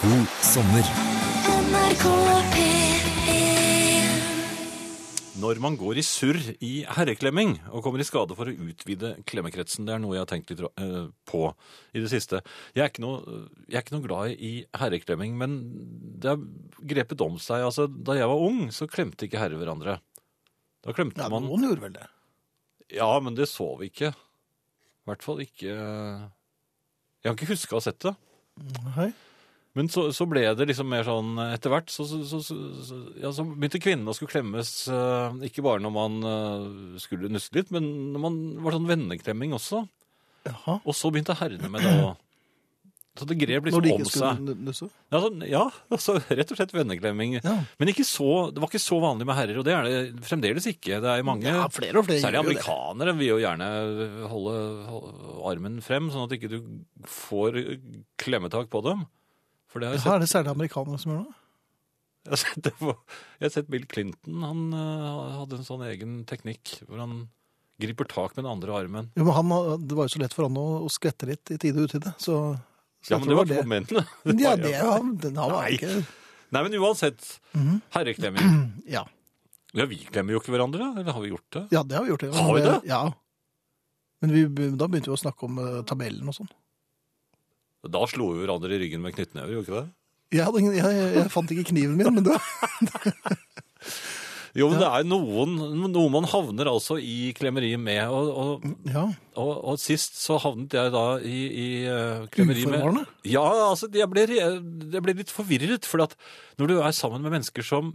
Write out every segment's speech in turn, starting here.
God sommer. NRK P1 Når man går i surr i herreklemming og kommer i skade for å utvide klemmekretsen, det er noe jeg har tenkt litt eh, på i det siste. Jeg er ikke noe, jeg er ikke noe glad i herreklemming, men det har grepet om seg. Altså, da jeg var ung, så klemte ikke herrer hverandre. Da klemte Ja, man noen gjorde vel det. Ja, men det så vi ikke. I hvert fall ikke Jeg har ikke huska å ha sett det. Hei. Men så, så ble det liksom mer sånn eh, etter hvert, så, så, så, så, ja, så begynte kvinnene å skulle klemmes, eh, ikke bare når man eh, skulle nusse litt, men når man var sånn venneklemming også. Jaha. Og så begynte herrene med det òg. Så det grep Når liksom de om ikke skulle seg. nu- nusse? Ja, sånn, ja altså, rett og slett venneklemming. Ja. Men ikke så, det var ikke så vanlig med herrer, og det er det fremdeles ikke. Det er mange, Ja, flere og flere særlig gjør jo det. amerikanere, vil jo gjerne holde, holde armen frem, sånn at ikke du får klemmetak på dem. For det har jeg sett Jaha, er det særlig amerikanere som gjør det? jeg har, sett det på, jeg har sett Bill Clinton. Han eh, hadde en sånn egen teknikk hvor han griper tak med den andre armen. Jo, men han, eh, det var jo så lett for han å, å skvette litt i tide og utide, så, så Ja, jeg men tror det var på momentene. det. Ja, det var han. Den han var Nei. ikke Nei, men uansett. Mhm. Herreklemming. ja. Ja, vi klemmer jo ikke hverandre, eller har vi gjort det? ja, det har vi gjort. Har vi det? Ja. Men vi, be- da begynte vi å snakke om eh, tabellen og sånn. Da slo vi hverandre i ryggen med knyttnever, gjorde vi ikke det? Jeg, hadde ingen- jeg, jeg fant ikke kniven min, men det Jo, men det er noen, noe man havner altså i klemmeri med, og, og Ja. Og, og sist så havnet jeg da i, i eh, klemmeri med Uforvarende? Ja, altså, jeg ble, re- jeg ble litt forvirret. For at når du er sammen med mennesker som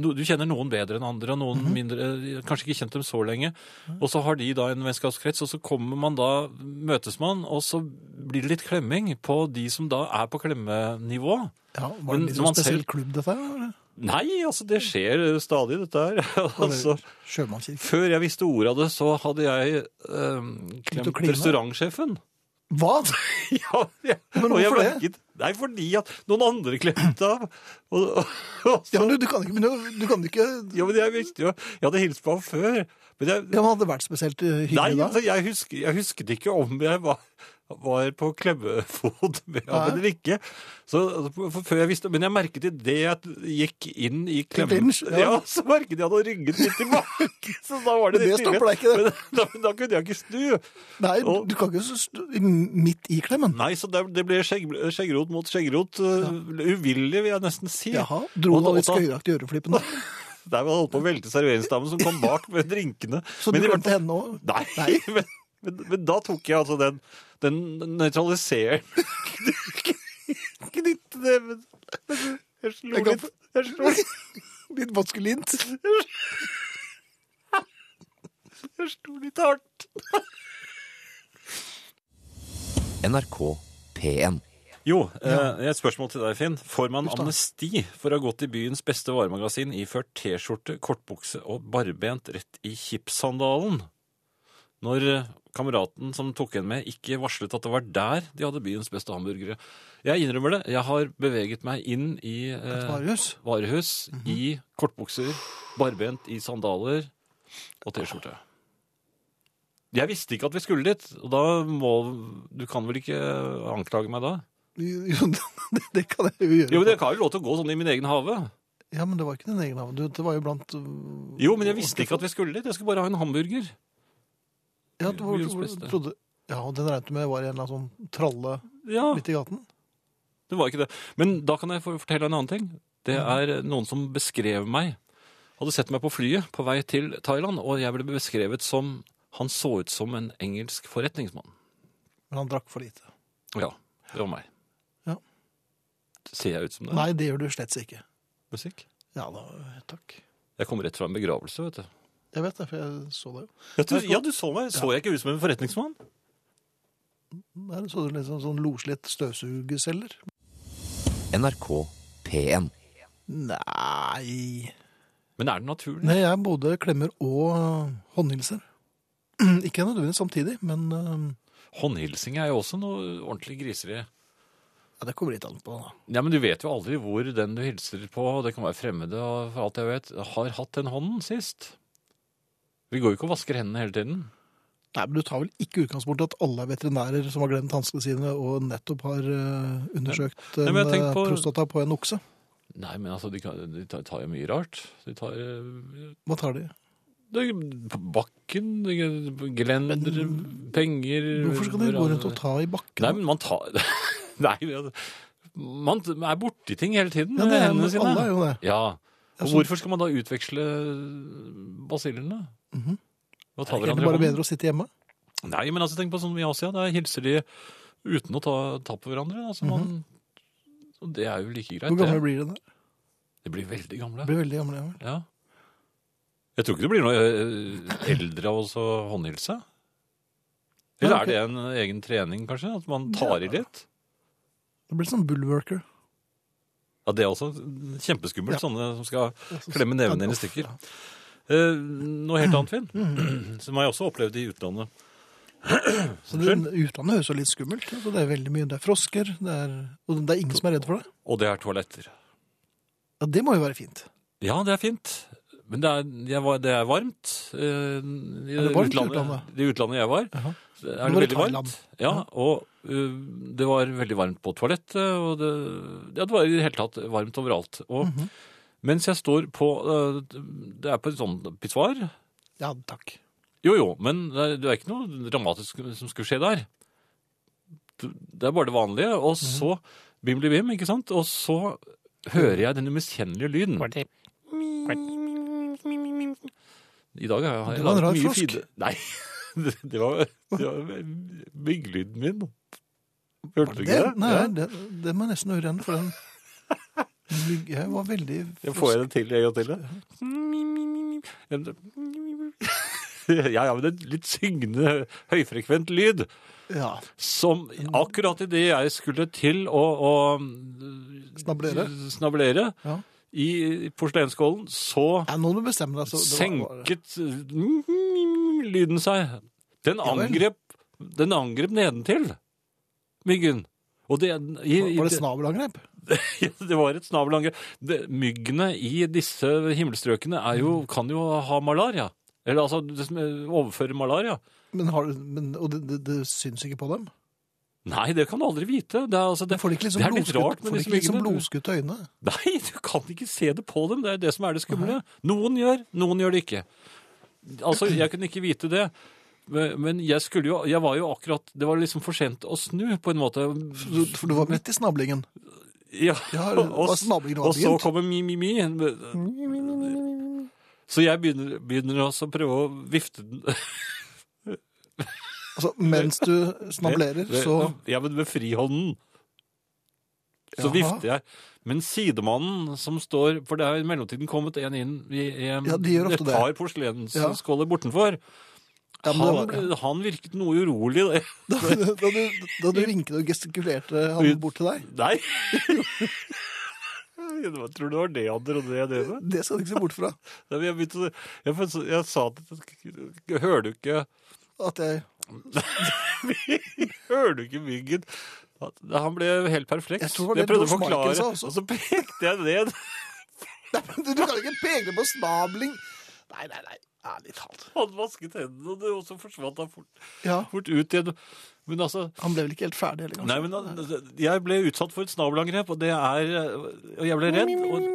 no, Du kjenner noen bedre enn andre, og noen Mhm. mindre eh, Kanskje ikke kjent dem så lenge. Og så har de da en vennskapskrets, og så kommer man da, møtes man, og så blir det litt klemming på de som da er på klemmenivå. ja var det Men en litt når man sånn spesiell selv- klubb, dette her? eller? Nei, altså, det skjer stadig, dette her. altså, Sjømannskirke. før jeg visste ordet av det, så hadde jeg eh, Begynt å klemt kline? restaurantsjefen. Hva? Ja, ja. Men og jeg hvorfor det? merket- Nei, fordi at noen andre klemte av. Og, og, og Ja, så, men du, du kan ikke begynne å- Du kan ikke ja, men jeg visste jo Jeg hadde hilst på ham før. Men jeg, Ja, men hadde det vært spesielt eh, nei, hyggelig altså, jeg, husker, jeg husket ikke om jeg var, var på klemmefot med ham Nei. eller ikke. Så, altså, for, for før jeg visste, men jeg merket idet jeg gikk inn i Til klemmen vinsj, ja. ja. så merket jeg at han rygget litt tilbake. Så da var det Men litt det stopper deg ikke, det. Men Da, da kunne jeg ikke snu. da? Nei, du- og- du kan ikke så st- i- midt i klemmen. Nei, så det, det ble skjegg, skjeggrot mot skjeggrot. øh, Uvillig, vil jeg nesten si. Jaha. Dro Og da- han litt og da- skøyeraktig i øreflippen da? Der var det holdt på å velte serveringsdamen som kom bak med drinkene. Så Men du i hvert glemte fall- henne òg? Nei, Men, men, men da tok jeg altså den, den nøytraliserende Knytte det men, men Jeg slo Jeg kan- litt jeg slo, Litt maskulint? Eh. jeg slo litt hardt. NRK P1. Jo, eh, et spørsmål til deg, Finn. Får man Husk da. amnesti for å ha gått i byens beste varemagasin iført T-skjorte, kortbukse og barbent rett i chipssandalen? Når eh, kameraten som tok en med, ikke varslet at det var der de hadde byens beste hamburgere. Jeg innrømmer det. Jeg har beveget meg inn i Et eh, varehus? Mhm. varehus i kortbukser, barbent i sandaler og T-skjorte. Jeg visste ikke at vi skulle dit, og da må Du kan vel ikke anklage meg da? Jo, det, det kan jeg jo gjøre. Jo, men Jeg har jo lov til å gå sånn i min egen hage. Ja, men det var ikke din egen navn. Du, det var jo blant øh, Jo, men jeg visste ikke at vi skulle dit. Jeg skulle bare ha en hamburger. ja, du, byens du, beste. trodde, ja, og den regnet du med var en eller annen sånn tralle Ja, midt i gaten? det var ikke det. Men da kan jeg for- fortelle en annen ting. Det er eh, noen som beskrev meg. Hadde sett meg på flyet på vei til Thailand, og jeg ble beskrevet som Han så ut som en engelsk forretningsmann. Men han drakk for lite. Ja, det var meg. Ja. Ser jeg ut som det? Nei, det gjør du slett ikke. Musikk? Ja da, takk. Jeg kom rett fra en begravelse, vet du. Jeg vet det, for jeg så det jo. Ja, du, ja, du så meg. Så jeg ikke ut som en forretningsmann? Der så du litt sånn, sånn loslitt støvsugerceller. NRK P1. Nei Men er det naturlig? Nei, jeg både klemmer og øh, håndhilser. Ikke nødvendigvis samtidig, men øh, Håndhilsing er jo også noe ordentlig griseri. ja, det kommer litt an på. da. Ja, men du vet jo aldri hvor den du hilser på, og det kan være fremmede og for alt jeg vet, har hatt den hånden sist. Vi går jo ikke og vasker hendene hele tiden. Nei, men Du tar vel ikke utgangspunkt i at alle er veterinærer som har glemt hanskene sine og nettopp har eh, undersøkt Nei, en men jeg eh, tenker på- prostata på en okse? Nei, men altså, de, kan, de tar, tar jo mye rart. De tar eh, Hva tar de? det er på bakken, det er gelender, penger eh, Hvorfor skal de gå rundt og ta i bakken? Nei, men man tar Nei, altså, man er borti ting hele tiden ja, med det er, eh, hendene sine. Alle er jo det. Ja. Og Altså- hvorfor skal man da utveksle basillene? Mhm. Og Er ta det hverandre ikke i bare hånden? bedre å sitte hjemme? Nei, men altså, tenk på sånn i Asia, der hilser de uten å ta, ta på hverandre. Altså, man, og det er jo like greit. Mhm. Hvor gamle det. blir de da? De blir veldig De gamle. Blir veldig gamle, ja. vel. Ja. Jeg tror ikke det blir noe eh, eldre av å håndhilse. Eller Ja, er ok. det en egen trening, kanskje? At man tar i litt? Det blir sånn bullworker. Ja, Det er også kjempeskummelt, sånne som skal klemme nevene dine i stykker. Ja. Mhm. Eh, Noe helt annet, Finn, som jeg også opplevde i utlandet. Så det, utlandet høres jo litt skummelt. ut, og det er veldig mye. Det er frosker, det er, og det er ingen som er redd for det. Og det er toaletter. Ja, Det må jo være fint. Ja, det er fint. Men det er, jeg var, det er varmt. eh, I Er det varmt i utlandet- utlandet? I utlandet jeg var. Jaha. Er var i det veldig Thailand. varmt? Ja, og eh, det var veldig varmt på toalettet, og det, ja, det var i det hele tatt varmt overalt. Og Mhm. mens jeg står på eh, Det er på en sånn pissoar. Ja, takk. Jo, jo, men det er, det er ikke noe dramatisk som skulle skje der. Det er bare det vanlige, og Mhm. så bim, blim, bim, ikke sant? Og så hører jeg den umiskjennelige lyden. I dag har jeg Det var en rar mye frosk. fine- Nei, det, det var, det var mygglyden min. Hørte du Det, ikke det? nei, Ja. det, det må jeg nesten høre igjen, for den Mygg- Jeg var veldig Jeg får jeg det til en gang til? da? Ja, ja, men det er en litt syngende, høyfrekvent lyd. Ja, Som akkurat idet jeg skulle til å, å Snablere? snablere Ja. i porselenskålen, så Ja, Noen må bestemme deg. Så det var- senket lyden seg. Den Ja vel. angrep, den angrep nedentil myggen. Og det, i, Var, i- var det snabelangrep? ja, det var et snabelangrep. Det- Myggene i disse himmelstrøkene er jo, kan jo ha malaria. Eller altså det som overfører malaria. Men har, du- men, og det, det, det syns ikke på dem? Nei, det kan du aldri vite. Det er, altså, det, Får de ikke liksom det er litt blodskutt- rart får med de disse ikke liksom myggene. blodskutte øyne? Nei, du kan ikke se det på dem. Det er det som er det skumle. Noen gjør, noen gjør det ikke. Altså, jeg kunne ikke vite det. Men men jeg skulle jo Jeg var jo akkurat Det var liksom for sent å snu, på en måte. Du, for du var midt i snablingen. Ja, Ja, det var og, s- snablingen var og så begynt. kommer mi-mi-mi. Så jeg begynner, begynner også å prøve å vifte den Altså, mens du snablerer, så Ja, men med frihånden. Så Jaha. vifter jeg. Men sidemannen som står For det er i mellomtiden kommet en inn i, i Ja, de gjør ofte et det. par Ja. porselensskåler bortenfor. ja, men han, det var, ble- han virket noe urolig. det. da, da, du, da du vinket og gestikulerte han bort til deg Nei! Jeg tror det var det han trodde jeg drev med. Det skal du ikke se bort fra. Nei, men Jeg, begynte, å- jeg, følte- jeg sa at Hører du ikke At jeg, Hører du ikke myggen? At- Han ble helt perpleks. Jeg tror det var jeg det prøvde å George Michael forklare, sa og også. så pekte jeg ned. nei, men du, du kan ikke peke på snabling! Nei, nei, nei. Ærlig talt. Han vasket hendene, og det også forsvant han fort, Ja, fort ut igjen. Men altså Han ble vel ikke helt ferdig heller, Nei, men altså, jeg ble utsatt for et snabelangrep, og det er Og jeg ble redd. Og,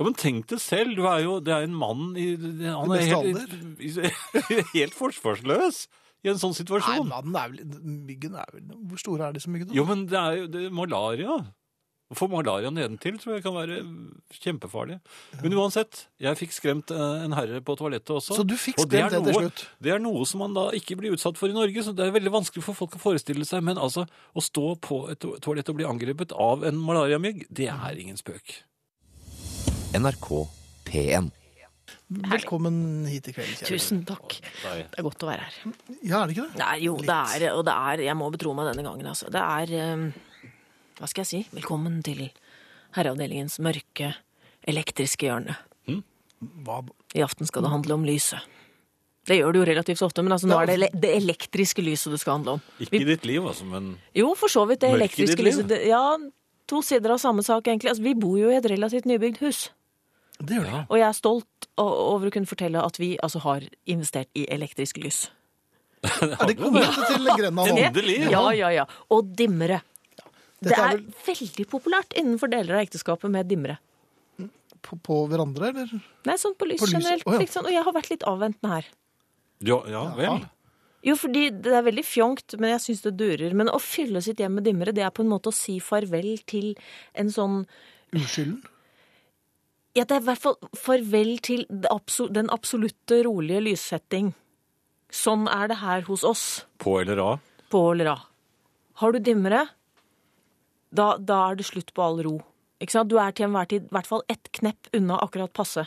ja, men tenk det selv. Du er jo Det er en mann i Han er beste helt, i, helt forsvarsløs i en sånn Nei, situasjon. mannen er vel, myggen er vel Hvor store er disse myggene? Jo, men det er jo det er malaria. Å få malaria nedentil tror jeg kan være kjempefarlig. Men uansett, jeg fikk skremt eh, en herre på toalettet også. Så du fikk Og det er skremt det til noe- slutt? Det er noe som man da ikke blir utsatt for i Norge, så det er veldig vanskelig for folk å forestille seg. Men altså, å stå på et to- toalett og bli angrepet av en malariamygg, det er ingen spøk. NRK P1. Velkommen hit i kveld, kjære. Tusen takk. Det er godt å være her. Ja, er det ikke det? Det er jo, det er, og det er Jeg må betro meg denne gangen, altså. Det er eh, Hva skal jeg si? Velkommen til Herreavdelingens mørke, elektriske hjørne. Hva? I aften skal det handle om lyset. Det gjør det jo relativt ofte, men altså, nå er det ele- det elektriske lyset det skal handle om. Ikke i ditt liv, altså, men Jo, for så vidt. Det Mørket i elektriske ditt liv? lyset det, Ja, to sider av samme sak, egentlig. Altså, vi bor jo i et relativt nybygd hus. Det gjør det. Og jeg er stolt o- over å kunne fortelle at vi altså, har investert i elektrisk lys. Er det kommet til Grenland? Endelig! Ja, ja, ja. Og dimmere. Det Dette er er vel veldig populært innenfor deler av ekteskapet med dimmere. på, på hverandre, eller? Nei, sånn på lys På lys, generelt. å ja. liksom. Og jeg har vært litt avventende her. Ja, ja vel. Jo, fordi det er veldig fjongt, men jeg syns det durer. Men å fylle sitt hjem med dimmere, det er på en måte å si farvel til en sånn Uskylden? Ja, det er i hvert fall farvel til det abso- den absolutte rolige lyssetting. Sånn er det her hos oss, På eller av. på eller av. Har du dimmere, da, da er det slutt på all ro. Ikke sant? Du er til enhver tid i hvert fall ett knepp unna akkurat passe.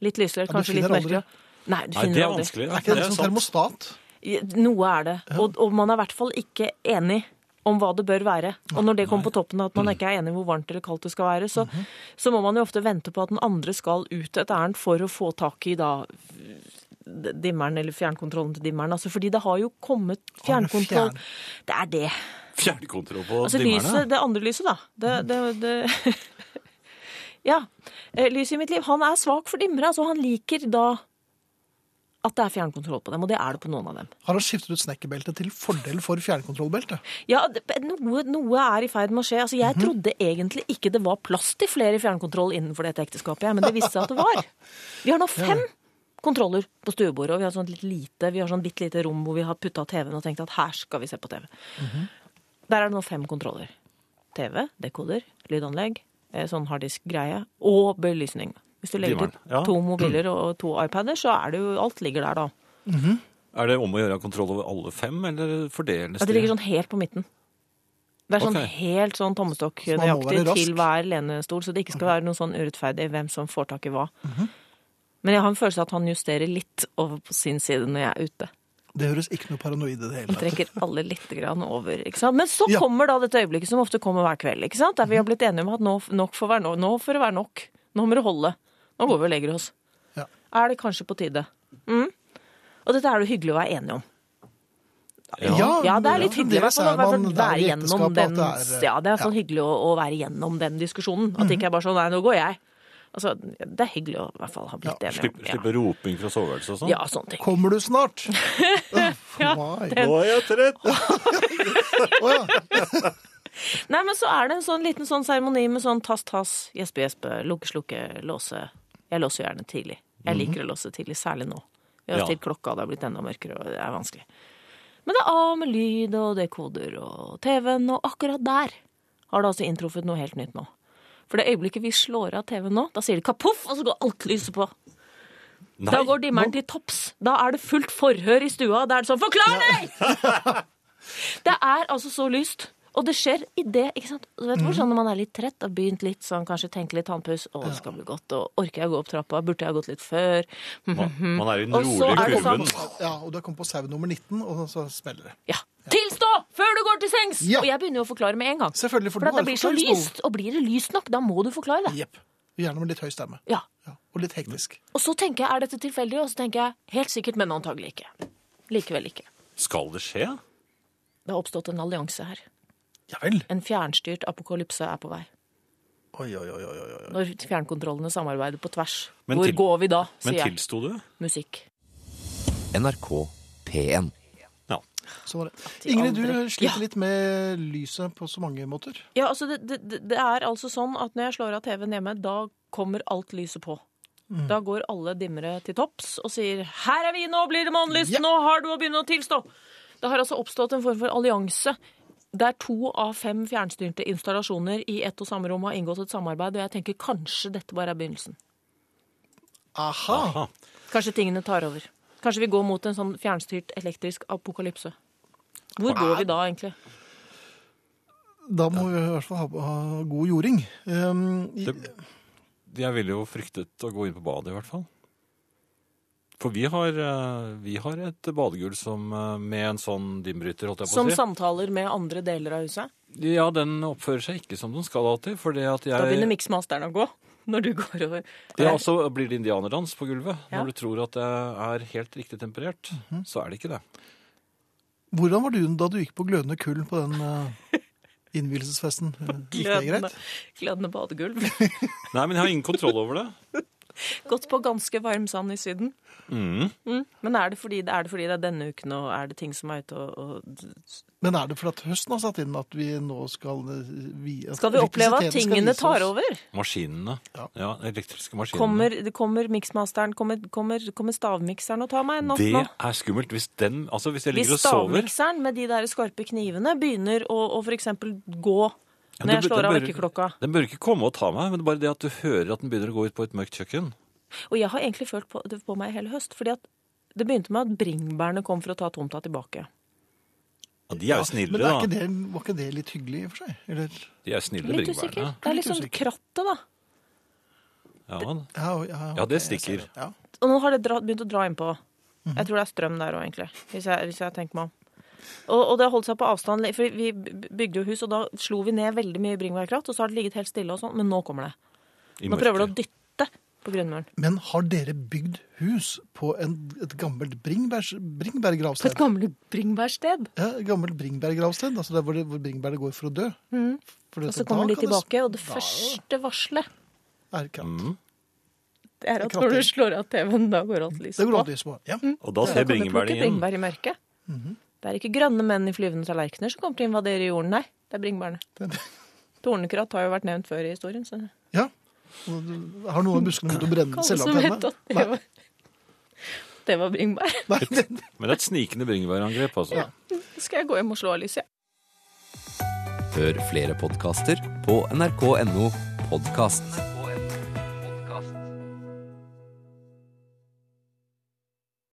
Litt lysere, du kanskje litt finner aldri. mørkere. Nei, du Nei, finner det er aldri. vanskelig. Er ikke det, er sånn sant. termostat? Noe er det. Og, og man er i hvert fall ikke enig om hva det bør være. Og når det kommer på toppen av at man ikke er enig i hvor varmt eller kaldt det skal være, så, Mhm. så må man jo ofte vente på at den andre skal ut et ærend for å få tak i da dimmeren eller fjernkontrollen til dimmeren. Altså, fordi det har jo kommet fjernkontroll fjern. Det er det. Fjernkontroll på Altså dimmerne. lyset, det andre lyset, da. Det, det, det Ja. Eh, Lyset i mitt liv. Han er svak for dimmere. Altså, han liker da at det er fjernkontroll på dem, og det er det på noen av dem. Har han skiftet ut snekkerbelte til fordel for fjernkontrollbelte? Ja, det- noe, noe er i ferd med å skje. Altså, jeg trodde egentlig ikke det var plass til flere fjernkontroll innenfor dette ekteskapet, jeg, men det viste seg at det var. Vi har nå fem kontroller på stuebordet, og vi har sånn litt lite, vi har sånn bitte lite rom hvor vi har putta TV-en og tenkt at her skal vi se på TV. Der er det nå fem kontroller. TV, dekoder, lydanlegg, eh, sånn harddisk-greie og belysning. Hvis du legger Dimmeren, til ja. to mobiler og to iPader, så er det jo alt ligger der da. Er det om å gjøre å ha kontroll over alle fem, eller fordeles Ja, det ligger sånn helt på midten. Det er sånn Ok. helt sånn tommestokk Så man må nøyaktig være rask. til hver lenestol, så det ikke skal være noe sånn urettferdig hvem som får tak i hva. Mhm. Men jeg har en følelse av at han justerer litt over på sin side når jeg er ute. Det høres ikke noe paranoid i det hele Han tatt. trekker alle litt grann over, ikke sant. Men så Ja. kommer da dette øyeblikket som ofte kommer hver kveld, ikke sant. Der vi har blitt enige om at nå, nok får være no- nå får det være nok. Nå må det holde. Nå går vi og legger oss. Ja. Er det kanskje på tide? Mm. Og dette er det hyggelig å være enige om. Ja, altså, det er litt hyggelig. i hvert fall, å være sånn- være gjennom den, ja, det er sånn hyggelig å, å være gjennom den diskusjonen. At det ikke er bare sånn 'nei, nå går jeg'. Altså, det er hyggelig å i hvert fall ha blitt Ja, enig. Slipp, slippe roping fra soveværelset og ja. sånn? ja, sånne ting. Kommer du snart? Uff, nei. Nå er jeg trett! Å ja. Nei, men så er det en sånn liten sånn seremoni med sånn tass-tass, gjespe-gjespe, lukke-slukke, låse. Jeg låser gjerne tidlig. Jeg liker å låse tidlig, særlig nå. Vi har Ja. stilt klokka, det har blitt enda mørkere, og det er vanskelig. Men det er av med lyd og dekoder og TV-en, og akkurat der har det altså inntruffet noe helt nytt nå. For det øyeblikket vi slår av TV-en nå, da sier det kapoff, og så går alt lyset på. Da går dimmeren til topps. Da er det fullt forhør i stua. Da er det sånn 'Forklar deg!' det er altså så lyst. Og det skjer i det, ikke sant. Du vet hvor sånn når man er litt trett, har begynt litt sånn, kanskje tenker litt tannpuss 'Å, det skal bli godt', og 'Orker jeg å gå opp trappa? Burde jeg gått litt før?' Mhm. Man, man er i den Og så rolige er det sånn- kurven. ja, og du har kommet på sau nummer 19, og så smeller det. Ja. Tilstå før du går til sengs! Ja. Og jeg begynner jo å forklare med en gang. Selvfølgelig, for For du at har det blir så forklaringsbehov. lyst. Og blir det lyst nok, da må du forklare det. Jepp. Gjerne med litt høy stemme. Ja. Ja, og litt hektisk. Og så tenker jeg 'Er dette tilfeldig?' Og så tenker jeg 'Helt sikkert, men antagelig ikke'. Likevel ikke. Skal det skje? Det har oppstått en allianse her. Ja vel. En fjernstyrt apokalypse er på vei. Oi, oi, oi, oi, oi. Når fjernkontrollene samarbeider på tvers. Men Hvor til- går vi da, Men sier jeg. tilsto du? Musikk. NRK P1. Ja. Så var det. Ingrid, du andre. sliter litt med lyset på så mange måter. Ja, altså det, det, det- det er altså sånn at når jeg slår av TV-en hjemme, da kommer alt lyset på. Mm. Da går alle dimmere til topps og sier 'her er vi, nå blir det månelyst', Ja. nå har du å begynne å tilstå'. Det har altså oppstått en form for allianse der to av fem fjernstyrte installasjoner i ett og samme rom har inngått et samarbeid, og jeg tenker kanskje dette bare er begynnelsen. Aha! Kanskje tingene tar over. Kanskje vi går mot en sånn fjernstyrt elektrisk apokalypse. Hvor går vi da, egentlig? Da må vi i hvert fall ha, ha god jording. Um, i- Det- Jeg ville jo fryktet å gå inn på badet, i hvert fall. For vi har, eh, vi har et badegulv som eh, med en sånn dimbryter, holdt jeg på Som å si. samtaler med andre deler av huset? Ja, den oppfører seg ikke som den skal alltid. For det at Da begynner jeg miksmasteren å gå. Når du går over. ja, og så blir det indianerdans på gulvet. Ja. Når Mhm. du tror at det er helt riktig temperert, så er det ikke det. hvordan var du da du gikk på glødende kull på den uh, innvielsesfesten? Eh, Gikk det greit? Glødende badegulv. Nei, men jeg har ingen kontroll over det. Gått på ganske varm sand i Syden. Mm. Men er det, fordi, er det fordi det er denne uken, og er det ting som er ute og, og Men er det fordi at høsten har satt inn at vi nå skal eh, vi, at Skal vi oppleve at elektrisiteten skal tingene vise tar oss- over? Maskinene. Ja. Ja, elektriske maskinene. Kommer, det kommer miksmasteren, kommer, kommer, kommer stavmikseren og tar meg en natt det nå? er skummelt. Hvis, den, altså hvis jeg Hvis ligger og sover stavmikseren med de der skarpe knivene begynner å, å for eksempel gå når den jeg bør- slår den av bør- vekkerklokka Den bør ikke komme og ta meg, men det er bare det at du hører at den begynner å gå ut på et mørkt kjøkken. Og jeg har egentlig følt på, det på meg hele høst, fordi at det begynte med at bringebærene kom for å ta tomta tilbake. Ja, de er Men jo snille, er ikke da. det, var ikke det litt hyggelig i og for seg? Eller, De er snille, Litt usikker. bringebærene. Det er Litt liksom usikker. krattet, da. Ja, da. ja, ja, Ja, ok, det jeg ser stikker. det. Ja. Og nå har det dra, begynt å dra innpå. Mhm. Jeg tror det er strøm der òg, egentlig. Hvis jeg, hvis jeg tenker meg om. Og, og det har holdt seg på avstand. li- For vi b- bygde jo hus, og da slo vi ned veldig mye bringebærkratt. Og så har det ligget helt stille, og sånn, men nå kommer det. I Nå prøver det å mørket. dytte på grunnmuren. Men har dere bygd hus på en, et gammelt bringbærs, På et bringbærgravsted? gammelt bringebærsted. Ja, et gammelt bringbærgravsted, altså der hvor, det, hvor bringbærene går for å dø. For det- Mm. Og så da kommer de kan det- tilbake, og det da første varselet Er det Mm. kratt. det er at Det når du kratter. slår av TV-en, da går alt lyset Det går på. an å lyse på. Ja. Og da Da ser kan du plukke bringebærene inn. bringebær i mørket. Det er ikke grønne menn i flyvende tallerkener som kommer til å invadere jorden, nei. Det er bringebærene. Det- Tornekratt har jo vært nevnt før i historien. Så. ja. Og du- Har noen av buskene begynt å brenne Alle som vet selvantenne? at det var, det var bringebær. Nei, det- Men det er et snikende bringebærangrep, altså. Så skal jeg gå hjem og slå av lyset. jeg. Hør flere podkaster på nrk.no podkast.